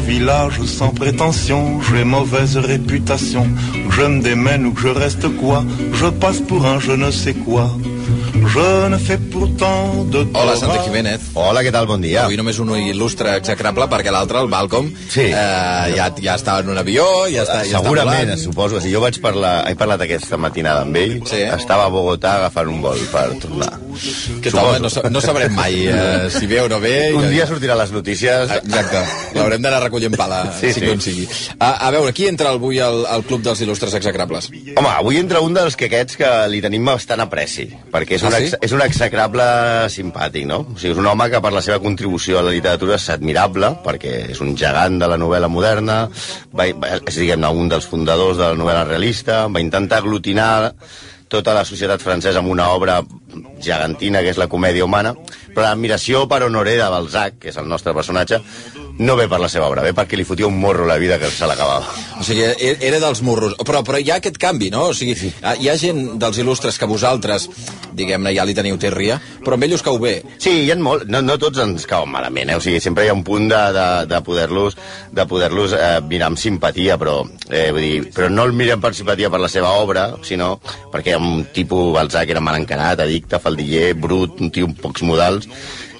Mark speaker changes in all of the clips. Speaker 1: village sans prétention, j'ai mauvaise réputation. Que je me démène ou que je reste quoi, je passe pour un je ne sais quoi. Je ne fais pourtant de
Speaker 2: Hola, Santa Jiménez.
Speaker 3: Hola, què tal? Bon dia.
Speaker 2: Avui només un il·lustre execrable perquè l'altre, el Balcom,
Speaker 3: Sí.
Speaker 2: eh, ja, ja està en un avió, ja està, ja
Speaker 3: Segurament,
Speaker 2: està volant.
Speaker 3: suposo. Si jo vaig parlar, he parlat aquesta matinada amb ell.
Speaker 2: Sí.
Speaker 3: Estava a Bogotà agafant un vol per tornar.
Speaker 2: Que tal, no, sa- no sabrem mai eh, si ve o no ve.
Speaker 3: Un
Speaker 2: Ja-
Speaker 3: dia sortirà a les notícies...
Speaker 2: Exacte, l'haurem d'anar recollint pala, sí,
Speaker 3: Sí,
Speaker 2: sí.
Speaker 3: sí.
Speaker 2: com sigui. A, a veure, qui entra avui al, al Club dels Il·lustres Execrables?
Speaker 3: Home, avui entra un dels que aquests que li tenim bastant apreci, perquè és
Speaker 2: Ah,
Speaker 3: un,
Speaker 2: sí?
Speaker 3: ex- és un execrable simpàtic, no? O sigui, és un home que per la seva contribució a la literatura és admirable, perquè és un gegant de la novel·la moderna, va, va, és, diguem-ne, un dels fundadors de la novel·la realista, va intentar aglutinar tota la societat francesa amb una obra gegantina, que és la comèdia humana, però l'admiració per Honoré de Balzac, que és el nostre personatge, no ve per la seva obra, ve perquè li fotia un morro la vida que se l'acabava.
Speaker 2: O sigui, e- era dels morros. Però, però hi ha aquest canvi, no? O sigui, ah, hi ha gent dels il·lustres que vosaltres, diguem-ne, ja li teniu tèrria, però amb ell us cau bé.
Speaker 3: Sí, hi ha molt, no, no tots ens cauen malament, eh? o sigui, sempre hi ha un punt de, de, de poder-los de poder-los eh, mirar amb simpatia, però, eh, vull dir, però no el mirem per simpatia per la seva obra, sinó perquè hi ha un tipus Balzac que era mal encarat, addicte, faldiller, brut, un tio amb pocs modals,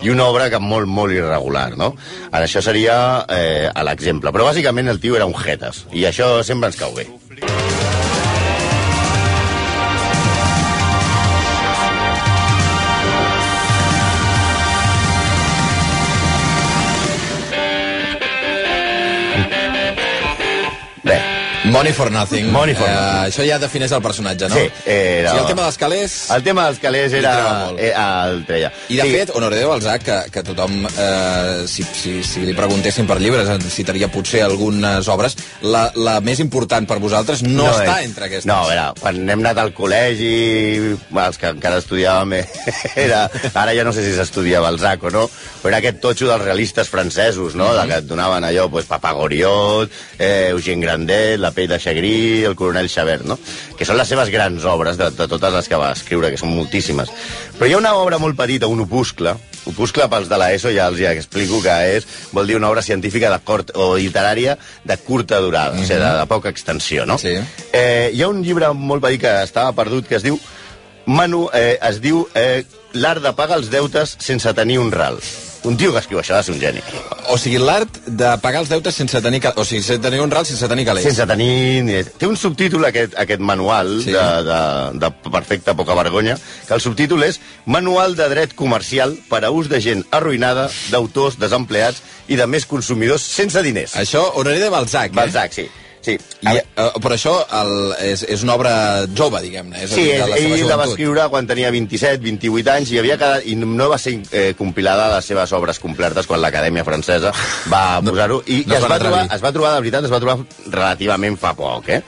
Speaker 3: i una obra que molt, molt irregular, no? Ara això seria eh, a l'exemple, però bàsicament el tio era un jetes, i això sempre ens cau bé. Bé,
Speaker 2: Money for nothing.
Speaker 3: Money for
Speaker 2: Eh,
Speaker 3: nothing.
Speaker 2: això ja defineix el personatge, no?
Speaker 3: Sí, era-
Speaker 2: O sigui, el tema dels calés...
Speaker 3: el tema dels calés
Speaker 2: Li treu
Speaker 3: era...
Speaker 2: molt.
Speaker 3: Eh, el treia.
Speaker 2: I, de
Speaker 3: Sí.
Speaker 2: fet, Honoré de Balzac, que, que tothom, eh, si, si, si li preguntessin per llibres, en citaria potser algunes obres, la, la més important per vosaltres no, no està
Speaker 3: és-
Speaker 2: entre aquestes.
Speaker 3: No, a veure, quan hem anat al col·legi, els que encara estudiàvem, eh, era, ara ja no sé si s'estudia Balzac o no, però era aquest totxo dels realistes francesos, no?, de que et donaven allò, pues, Papagoriot, eh, Eugène Grandet, La pell de Chagrí, el coronel Chabert, no?, que són les seves grans obres, de, de totes les que va escriure, que són moltíssimes. Però hi ha una obra molt petita, un opuscle, opuscle pels de l'ESO, ja els ja explico que és, vol dir una obra científica de cort, o literària de curta durada, o sigui, de, de poca extensió, no?
Speaker 2: Sí.
Speaker 3: Eh, hi ha un llibre molt petit que estava perdut que es diu Manu, eh, es diu eh, L'art de pagar els deutes sense tenir un ral. Un tio que escriu això ha de ser un geni.
Speaker 2: O sigui, l'art de pagar els deutes sense tenir, cal... o sigui, sense tenir un ral, sense tenir calés.
Speaker 3: Sense tenir... ni- Té un subtítol, aquest, aquest manual
Speaker 2: Sí.
Speaker 3: sí. de, de, de perfecta poca vergonya, que el subtítol és Manual de dret comercial per a ús de gent arruïnada, d'autors, desempleats i de més consumidors sense diners.
Speaker 2: Això, Honoré de Balzac, eh?
Speaker 3: Balzac, sí. Sí,
Speaker 2: I, eh, però això el, és, és una obra jove, diguem-ne. És a
Speaker 3: Sí,
Speaker 2: dir, de
Speaker 3: ell,
Speaker 2: la seva
Speaker 3: ell la va
Speaker 2: joventut.
Speaker 3: escriure quan tenia 27, 28 anys i havia quedat, i no va ser eh, compilada les seves obres completes quan l'Acadèmia Francesa va
Speaker 2: No-
Speaker 3: posar-ho i,
Speaker 2: no
Speaker 3: i
Speaker 2: es
Speaker 3: es,
Speaker 2: van
Speaker 3: va trobar,
Speaker 2: atrevir.
Speaker 3: es va trobar, de veritat, es va trobar relativament fa poc. Eh?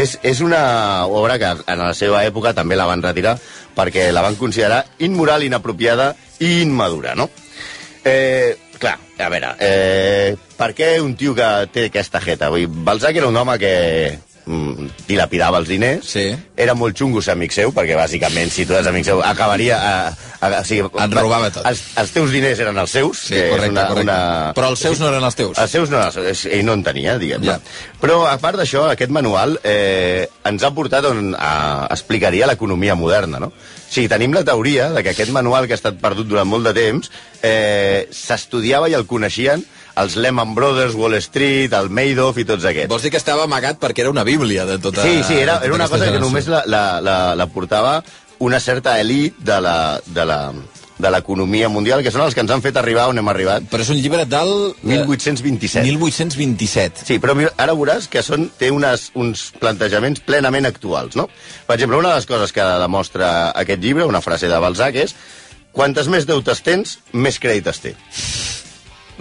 Speaker 3: És, és una obra que en la seva època també la van retirar perquè la van considerar immoral, inapropiada i immadura, no? Eh, clar, a veure, eh, per què un tio que té aquesta jeta? Vull dir, Balzac era un home que mm, dilapidava els diners,
Speaker 2: Sí.
Speaker 3: era molt xungo ser amic seu, perquè bàsicament si tu eres amic seu acabaria... A, a, o sigui,
Speaker 2: Et robava tot.
Speaker 3: Els, els teus diners eren els seus,
Speaker 2: Sí,
Speaker 3: que
Speaker 2: correcte,
Speaker 3: és una,
Speaker 2: correcte.
Speaker 3: una...
Speaker 2: Però els seus no eren els teus.
Speaker 3: Els seus no eren els seus, ell no en tenia, diguem
Speaker 2: Ja.
Speaker 3: ja. Però a part d'això, aquest manual eh, ens ha portat on a, explicaria l'economia moderna, no? O sigui, tenim la teoria de que aquest manual que ha estat perdut durant molt de temps eh, s'estudiava i el coneixien els Lehman Brothers, Wall Street, el Madoff i tots aquests.
Speaker 2: Vols dir que estava amagat perquè era una bíblia de tota...
Speaker 3: Sí, sí, era,
Speaker 2: de tota
Speaker 3: era una
Speaker 2: aquesta
Speaker 3: cosa que
Speaker 2: generació.
Speaker 3: només la, la, la, la portava una certa elit de la... De la de l'economia mundial, que són els que ens han fet arribar on hem arribat.
Speaker 2: Però és un llibre del... eh,
Speaker 3: 1827.
Speaker 2: 1827.
Speaker 3: Sí, però mira, ara veuràs que són, té unes, uns plantejaments plenament actuals, no? Per exemple, una de les coses que demostra aquest llibre, una frase de Balzac, és quantes més deutes tens, més crèdit es té.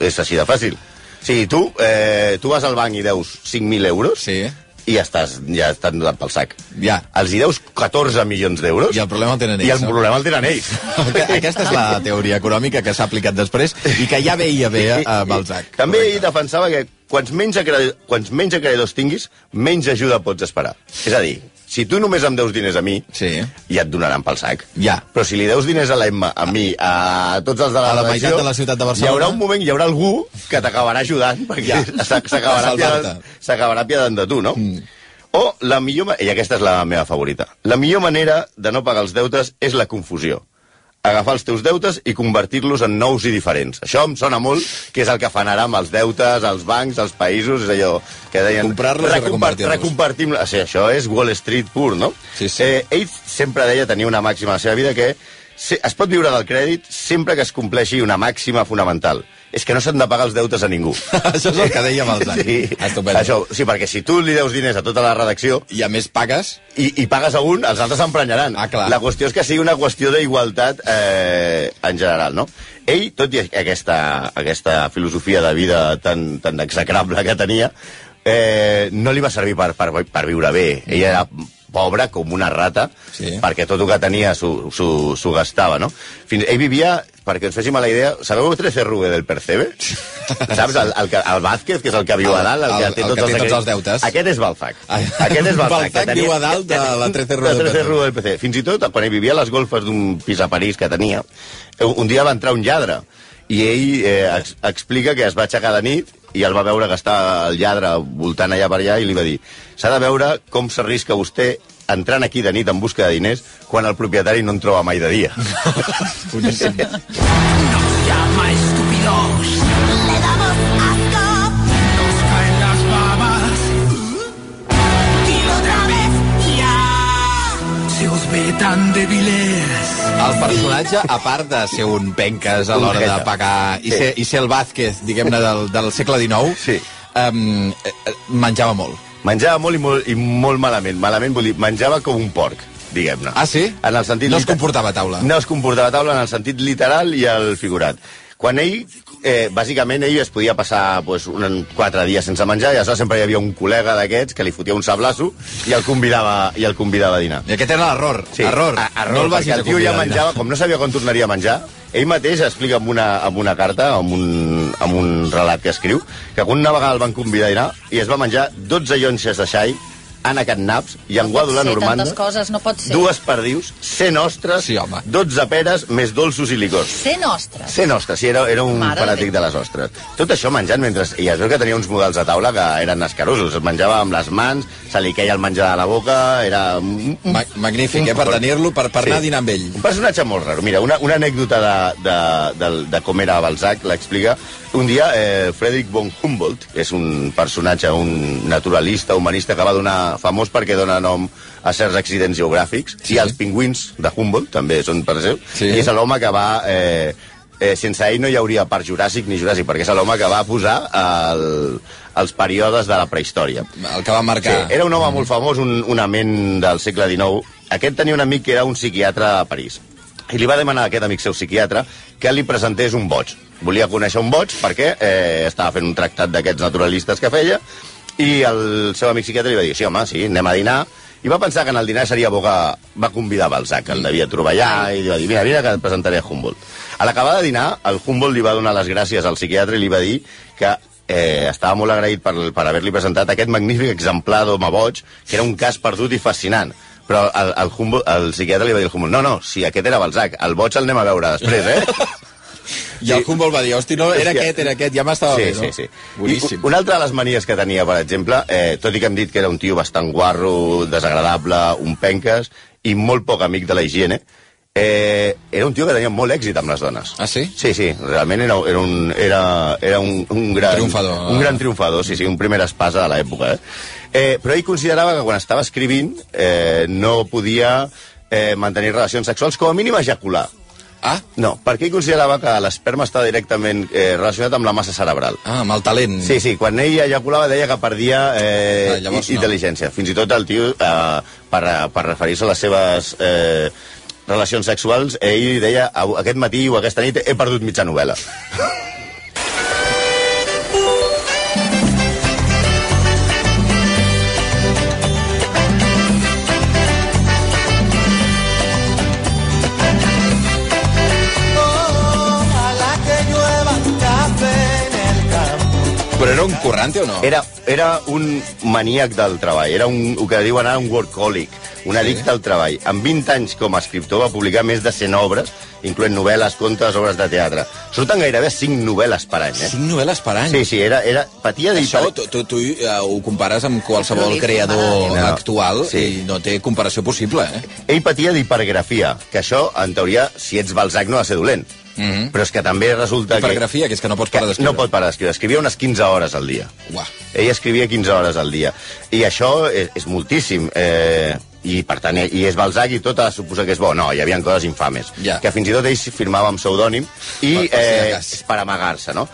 Speaker 3: És així de fàcil. Si tu, eh, tu vas al banc i deus 5.000 euros
Speaker 2: Sí. eh?
Speaker 3: i ja estàs, ja estàs donat pel sac.
Speaker 2: Ja.
Speaker 3: Els hi deus 14 milions d'euros
Speaker 2: I el problema el tenen ells.
Speaker 3: i el
Speaker 2: no?
Speaker 3: problema el tenen ells.
Speaker 2: Aquesta és la teoria econòmica que s'ha aplicat després i que ja veia bé a Balzac.
Speaker 3: També ell defensava que quants menys, acre... quants menys acreedors tinguis, menys ajuda pots esperar. És a dir, si tu només em deus diners a mi,
Speaker 2: Sí. eh?
Speaker 3: ja et donaran pel sac.
Speaker 2: Ja.
Speaker 3: Però si li deus diners a l'Emma, a mi, a tots els de la,
Speaker 2: A la meitat
Speaker 3: redacció,
Speaker 2: de la ciutat de Barcelona.
Speaker 3: Hi haurà un moment, hi haurà algú que t'acabarà ajudant, perquè s'ac-
Speaker 2: A
Speaker 3: s'acabarà
Speaker 2: salvar-te. Mm.
Speaker 3: piadant- s'acabarà piadant de tu, no? O la millor... ma- I aquesta és la meva favorita. La millor manera de no pagar els deutes és la confusió. Agafar els teus deutes i convertir-los en nous i diferents. Això em sona molt, que és el que fan ara amb els deutes, els bancs, els països, és allò que deien...
Speaker 2: Comprar-los i
Speaker 3: recompar-
Speaker 2: reconvertir-los.
Speaker 3: recom- compartim... O sigui, això és Wall Street pur, no?
Speaker 2: Sí, sí.
Speaker 3: Eh, ell sempre deia tenir una màxima a la seva vida que se- es pot viure del crèdit sempre que es compleixi una màxima fonamental. És que no s'han de pagar els deutes a ningú.
Speaker 2: Això és el que dèiem als anys.
Speaker 3: Sí.
Speaker 2: Estupendo.
Speaker 3: Això, sí, perquè si tu li deus diners a tota la redacció
Speaker 2: I a més pagues...
Speaker 3: i, i pagues a un, els altres s'emprenyaran.
Speaker 2: Ah, clar.
Speaker 3: La qüestió és que sigui una qüestió d'igualtat eh, en general, no? Ell, tot i aquesta, aquesta filosofia de vida tan, tan execrable que tenia, eh, no li va servir per, per, per viure bé. Ell era pobre com una rata,
Speaker 2: Sí.
Speaker 3: perquè tot el que tenia s'ho- s'ho s'ho gastava, no? Fins, ell vivia, perquè ens féssim a la idea, sabeu 13 Rube del Percebe? Saps? El, el, que- el Vázquez, que és el que viu a
Speaker 2: El-
Speaker 3: dalt,
Speaker 2: el-
Speaker 3: el, que té,
Speaker 2: el que
Speaker 3: tots,
Speaker 2: té
Speaker 3: els,
Speaker 2: tots els deutes.
Speaker 3: Aquest és Balzac.
Speaker 2: Ah.
Speaker 3: Aquest és Balzac.
Speaker 2: Balzac
Speaker 3: que tenia-
Speaker 2: viu a dalt de la 13 Rue
Speaker 3: de
Speaker 2: del
Speaker 3: 13
Speaker 2: Percebe.
Speaker 3: Rue del Percebe. Fins i tot, quan ell vivia a les golfes d'un pis a París que tenia, un un dia va entrar un lladre i ell eh, ex explica que es va aixecar de nit i el va veure que estava el lladre voltant allà per allà i li va dir s'ha de veure com s'arrisca vostè entrant aquí de nit en busca de diners quan el propietari no en troba mai de dia.
Speaker 2: Boníssim.
Speaker 4: llama estúpidos. Le damos asco. Nos caen las babas. Dilo otra vez, ya. Se os ve tan débiles.
Speaker 2: El personatge, a part de ser un penques a
Speaker 3: Un
Speaker 2: l'hora de
Speaker 3: jeta.
Speaker 2: pagar i,
Speaker 3: Sí.
Speaker 2: ser, i ser el Vázquez, diguem-ne, del, del segle XIX,
Speaker 3: Sí.
Speaker 2: em, eh, eh, menjava molt.
Speaker 3: Menjava molt i molt, i molt malament. Malament vol dir, menjava com un porc, diguem-ne.
Speaker 2: Ah, sí?
Speaker 3: En el sentit
Speaker 2: No es
Speaker 3: liter-
Speaker 2: comportava a taula.
Speaker 3: No es comportava a taula en el sentit literal i el figurat. Quan ell, eh, bàsicament, ell es podia passar pues, un, quatre dies sense menjar i aleshores sempre hi havia un col·lega d'aquests que li fotia un sablasso i el convidava, i el convidava a dinar.
Speaker 2: I aquest era l'error. error.
Speaker 3: A, error,
Speaker 2: no el vagis
Speaker 3: perquè
Speaker 2: a
Speaker 3: el tio ja
Speaker 2: convidar a dinar.
Speaker 3: menjava, com no sabia quan tornaria a menjar, ell mateix explica en una, en una carta, en un, en un relat que escriu, que una vegada el van convidar a dinar i es va menjar 12 llonxes de xai, ànec en naps, llanguàdula
Speaker 5: pot ser
Speaker 3: normanda,
Speaker 5: tantes coses, no pot ser.
Speaker 3: dues perdius, 100 ostres,
Speaker 2: Sí, home.
Speaker 3: 12 peres, més dolços i licors.
Speaker 5: Ser nostres.
Speaker 3: Ser ostres, sí, era, era un
Speaker 5: Mare de
Speaker 3: fanàtic
Speaker 5: Déu.
Speaker 3: de les ostres. Tot això menjant mentre... I es veu que tenia uns models a taula que eren escarosos. Es menjava amb les mans, se li queia el menjar a la boca, era un, un
Speaker 2: Ma magnífic, eh, per tenir-lo, per, per anar a dinar amb ell.
Speaker 3: un personatge molt raro. Mira, una, una anècdota de, de, de, de com era Balzac l'explica. Un dia, eh, Frederick von Humboldt, que és un personatge, un naturalista, humanista, que va donar famós perquè dona nom a certs accidents geogràfics,
Speaker 2: Sí.
Speaker 3: sí. i els pingüins de Humboldt també són per seu,
Speaker 2: Sí.
Speaker 3: i és l'home que va... Eh, eh, sense ell no hi hauria parc juràssic ni juràssic, perquè és l'home que va posar el, els períodes de la prehistòria.
Speaker 2: El que va marcar.
Speaker 3: Sí, era un home molt famós, un, un amant del segle XIX. Aquest tenia un amic que era un psiquiatre a París. I li va demanar a aquest amic seu psiquiatre que li presentés un boig. Volia conèixer un boig perquè eh, estava fent un tractat d'aquests naturalistes que feia i el seu amic psiquiatre li va dir, sí, home, sí, anem a dinar. I va pensar que en el dinar seria bo que va convidar Balzac, que el devia trobar allà, i li va dir, mira, mira, que et presentaré a Humboldt. A l'acabada de dinar, el Humboldt li va donar les gràcies al psiquiatre i li va dir que eh, estava molt agraït per, per haver-li presentat aquest magnífic exemplar d'home boig, que era un cas perdut i fascinant. Però el, el, Humboldt, el psiquiatre li va dir al Humboldt, no, no, si aquest era Balzac, el boig el anem a veure després, eh?
Speaker 2: I el Humboldt va dir, hosti, no, era
Speaker 3: Hòstia.
Speaker 2: aquest, era aquest, ja m'estava
Speaker 3: sí,
Speaker 2: bé, no?
Speaker 3: Sí, sí,
Speaker 2: Boníssim.
Speaker 3: I una altra de les manies que tenia, per exemple, eh, tot i que hem dit que era un tio bastant guarro, desagradable, un penques i molt poc amic de la higiene, eh, era un tio que tenia molt èxit amb les dones.
Speaker 2: Ah, sí?
Speaker 3: Sí, sí, realment era, era, un, era, era un, un gran...
Speaker 2: Triomfador.
Speaker 3: Un gran triomfador, sí, sí, un primer espasa de l'època. Eh? Eh, però ell considerava que quan estava escrivint eh, no podia eh, mantenir relacions sexuals, com a mínim ejacular.
Speaker 2: Ah,
Speaker 3: No, perquè ell considerava que l'esperma està directament eh, relacionat amb la massa cerebral.
Speaker 2: ah, amb el talent.
Speaker 3: Sí, sí, quan ell ejaculava deia que perdia eh,
Speaker 2: Ah, llavors
Speaker 3: i-
Speaker 2: no.
Speaker 3: intel·ligència. Fins i tot el tio, eh, per, per referir-se a les seves eh, relacions sexuals, ell deia "Au- aquest matí o aquesta nit he perdut mitja novel·la.
Speaker 6: Ojalá que llueva café en el campo.
Speaker 2: Però era un currante o no?
Speaker 3: Era, era un maníac del treball, era un, el que diuen ara un workaholic, un addicte al treball. Amb 20 anys com a escriptor va publicar més de 100 obres, incloent novel·les, contes, obres de teatre. Surten gairebé 5 novel·les per any, eh?
Speaker 2: Cinc novel·les per any.
Speaker 3: Sí, sí, era, era, patia
Speaker 2: Això
Speaker 3: d'hiper...
Speaker 2: tu, tu, tu eh, ho compares amb qualsevol
Speaker 5: Prolífic,
Speaker 2: creador
Speaker 3: mare. No.
Speaker 2: actual
Speaker 3: Sí.
Speaker 2: i no té comparació possible, eh?
Speaker 3: Ell patia d'hipergrafia, que això, en teoria, si ets Balzac no ha de ser dolent.
Speaker 2: Mhm.
Speaker 3: Però és que també resulta
Speaker 2: Hipergrafia, que és que no pots parar
Speaker 3: Mm-hmm. que... que
Speaker 2: d'escriure.
Speaker 3: no pot parar d'escriure. Escrivia unes 15 hores al dia.
Speaker 2: Uah.
Speaker 3: Ell escrivia 15 hores al dia. I això és, és moltíssim. Eh, I, per tant, i és Balzac i tot ha de suposar que és bo. No, hi havia coses infames.
Speaker 2: Ja.
Speaker 3: Que fins i tot ell s'hi firmava amb pseudònim i
Speaker 2: Per- per si de
Speaker 3: eh,
Speaker 2: cas.
Speaker 3: per amagar-se, no?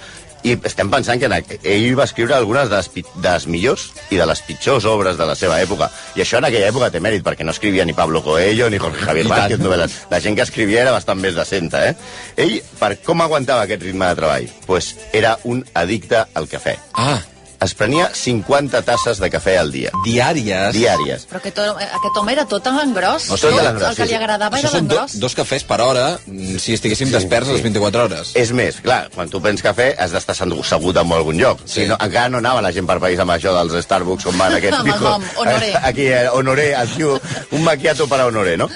Speaker 3: I estem pensant que en aqu- ell va escriure algunes de les, pi- de les millors i de les pitjors obres de la seva època. I això en aquella època té mèrit, perquè no escrivia ni Pablo Coelho ni Jorge Javier
Speaker 2: I
Speaker 3: Vázquez
Speaker 2: tant.
Speaker 3: novel·les. La gent que escrivia era bastant més decenta, eh? Ell, per com aguantava aquest ritme de treball? pues era un addicte al cafè
Speaker 2: Ah,
Speaker 3: es prenia 50 tasses de cafè al dia,
Speaker 2: diàries.
Speaker 3: diàries.
Speaker 5: Però aquest, home- aquest home era tot en gros.
Speaker 3: No, tot en
Speaker 5: el
Speaker 3: gros,
Speaker 5: que
Speaker 3: sí, sí.
Speaker 5: li agradava
Speaker 2: Això
Speaker 5: era
Speaker 2: són
Speaker 5: en
Speaker 2: do,
Speaker 5: gros.
Speaker 2: dos cafès per hora, mm, si estiguéssim sí, desperts les
Speaker 3: sí.
Speaker 2: 24 hores.
Speaker 3: És més, clar, quan tu prens cafè has d'estar sentu- assegut en algun lloc.
Speaker 2: Sí.
Speaker 3: Sí. No, encara no anava la gent per país amb això dels Starbucks on van aquests
Speaker 5: Home,
Speaker 3: pijos.
Speaker 5: home, Honoré.
Speaker 3: Aquí, eh, Honoré, aquí un maquiato per a Honoré, no?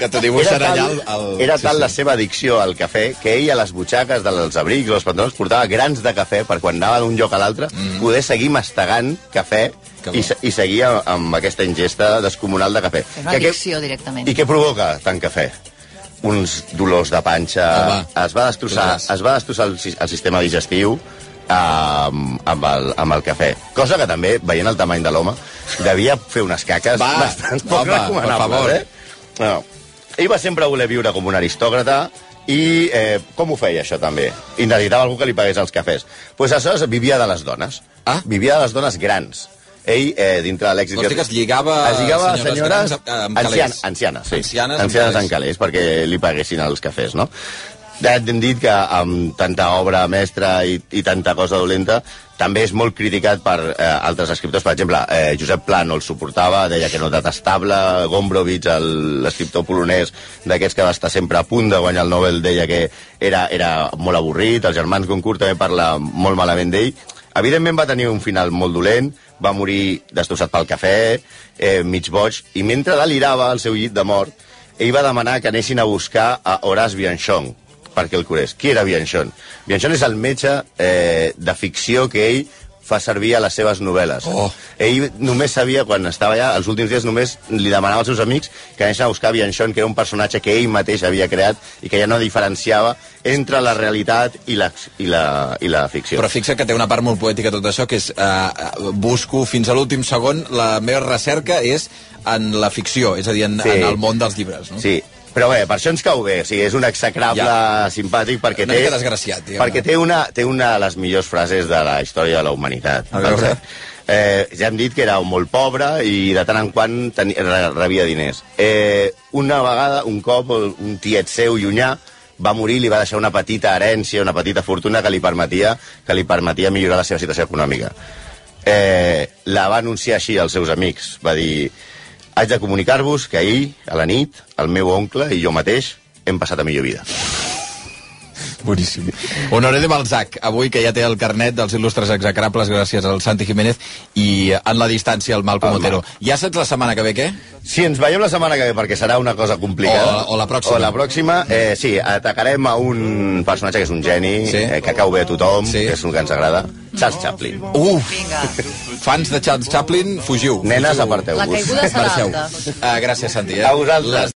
Speaker 2: Que te dibuixen allà el... el...
Speaker 3: era tal la seva addicció al cafè que ell a les butxaques dels abrics, els pantalons, portava grans de cafè per quan anava d'un lloc a l'altre mm. poder seguir mastegant cafè
Speaker 2: Que bo.
Speaker 3: i, se- i seguir amb, amb aquesta ingesta descomunal de cafè.
Speaker 5: És una
Speaker 3: Que aquest-
Speaker 5: addicció, directament.
Speaker 3: I què provoca tant cafè? Uns dolors de panxa...
Speaker 2: Home,
Speaker 3: es va destrossar,
Speaker 2: ostres.
Speaker 3: es va destrossar el, si- el sistema digestiu amb, amb, el, amb el cafè. Cosa que també, veient el tamany de l'home, devia fer unes caques
Speaker 2: Va,
Speaker 3: bastant poc
Speaker 2: home, per favor.
Speaker 3: recomanables, eh? No. Ell va sempre voler viure com un aristòcrata i eh, com ho feia, això, també? I necessitava algú que li pagués els cafès. Doncs pues, aleshores vivia de les dones.
Speaker 2: Ah.
Speaker 3: Vivia de les dones grans. Ell, eh, dintre de l'èxit...
Speaker 2: Vols dir que es lligava
Speaker 3: Es lligava a
Speaker 2: senyores
Speaker 3: senyores,
Speaker 2: grans amb- amb
Speaker 3: ancianes,
Speaker 2: calés.
Speaker 3: ancianes, sí.
Speaker 2: Ancianes amb
Speaker 3: ancianes
Speaker 2: calés.
Speaker 3: amb calés, perquè li paguessin els cafès, no? Ja hem dit que amb tanta obra mestra i, i tanta cosa dolenta també és molt criticat per eh, altres escriptors. Per exemple, eh, Josep Pla no el suportava, deia que no detestable, Gombrowicz, el- l'escriptor polonès d'aquests que va estar sempre a punt de guanyar el Nobel, deia que era, era molt avorrit, els germans Goncourt també parla molt malament d'ell. Evidentment va tenir un final molt dolent, va morir destrossat pel cafè, eh, mig boig, i mentre delirava al seu llit de mort, ell va demanar que anessin a buscar a Horace Bianchon perquè el curés. Qui era Bianchon? Bianchon és el metge eh, de ficció que ell fa servir a les seves novel·les.
Speaker 2: Oh.
Speaker 3: Ell només sabia, quan estava allà, els últims dies només li demanava als seus amics que anessin a buscar Bianchon, que era un personatge que ell mateix havia creat i que ja no diferenciava entre la realitat i la, i la, i la ficció.
Speaker 2: Però fixa que té una part molt poètica tot això, que és eh, busco fins a l'últim segon, la meva recerca és en la ficció, és a dir, en,
Speaker 3: Sí.
Speaker 2: sí. en el món dels llibres. No?
Speaker 3: Sí, però bé, per això ens cau bé. O sigui, és un execrable
Speaker 2: Ja.
Speaker 3: ja. simpàtic perquè
Speaker 2: Una
Speaker 3: té...
Speaker 2: mica desgraciat, diguem-ne.
Speaker 3: Perquè té una, té una de les millors frases de la història de la humanitat.
Speaker 2: A veure.
Speaker 3: Pensem. Eh, ja hem dit que era molt pobre i de tant en quant teni, re- rebia diners. Eh, una vegada, un cop, un tiet seu llunyà va morir i li va deixar una petita herència, una petita fortuna que li permetia, que li permetia millorar la seva situació econòmica. Eh, la va anunciar així als seus amics. Va dir, haig de comunicar-vos que ahir, a la nit, el meu oncle i jo mateix hem passat a millor vida.
Speaker 2: Boníssim. Honoré de Balzac, avui que ja té el carnet dels il·lustres execrables gràcies al Santi Jiménez i eh, en la distància el Malcom
Speaker 3: El Mal.
Speaker 2: Otero. Ja saps la setmana que ve què?
Speaker 3: Si ens veiem la setmana que ve, perquè serà una cosa complicada...
Speaker 2: O- o la pròxima.
Speaker 3: O la pròxima, eh, sí, atacarem a un personatge que és un geni,
Speaker 2: Sí.
Speaker 3: sí. eh, que cau bé a tothom,
Speaker 2: Sí.
Speaker 3: sí. que és un que ens agrada, Charles Chaplin.
Speaker 2: Uf!
Speaker 5: Vinga,
Speaker 2: Fans de Charles Chaplin, fugiu.
Speaker 3: Nenes,
Speaker 2: fugiu.
Speaker 3: aparteu-vos.
Speaker 5: la caiguda serà
Speaker 2: Marxeu.
Speaker 5: alta.
Speaker 2: Uh, gràcies, Santi. Eh?
Speaker 3: A vosaltres.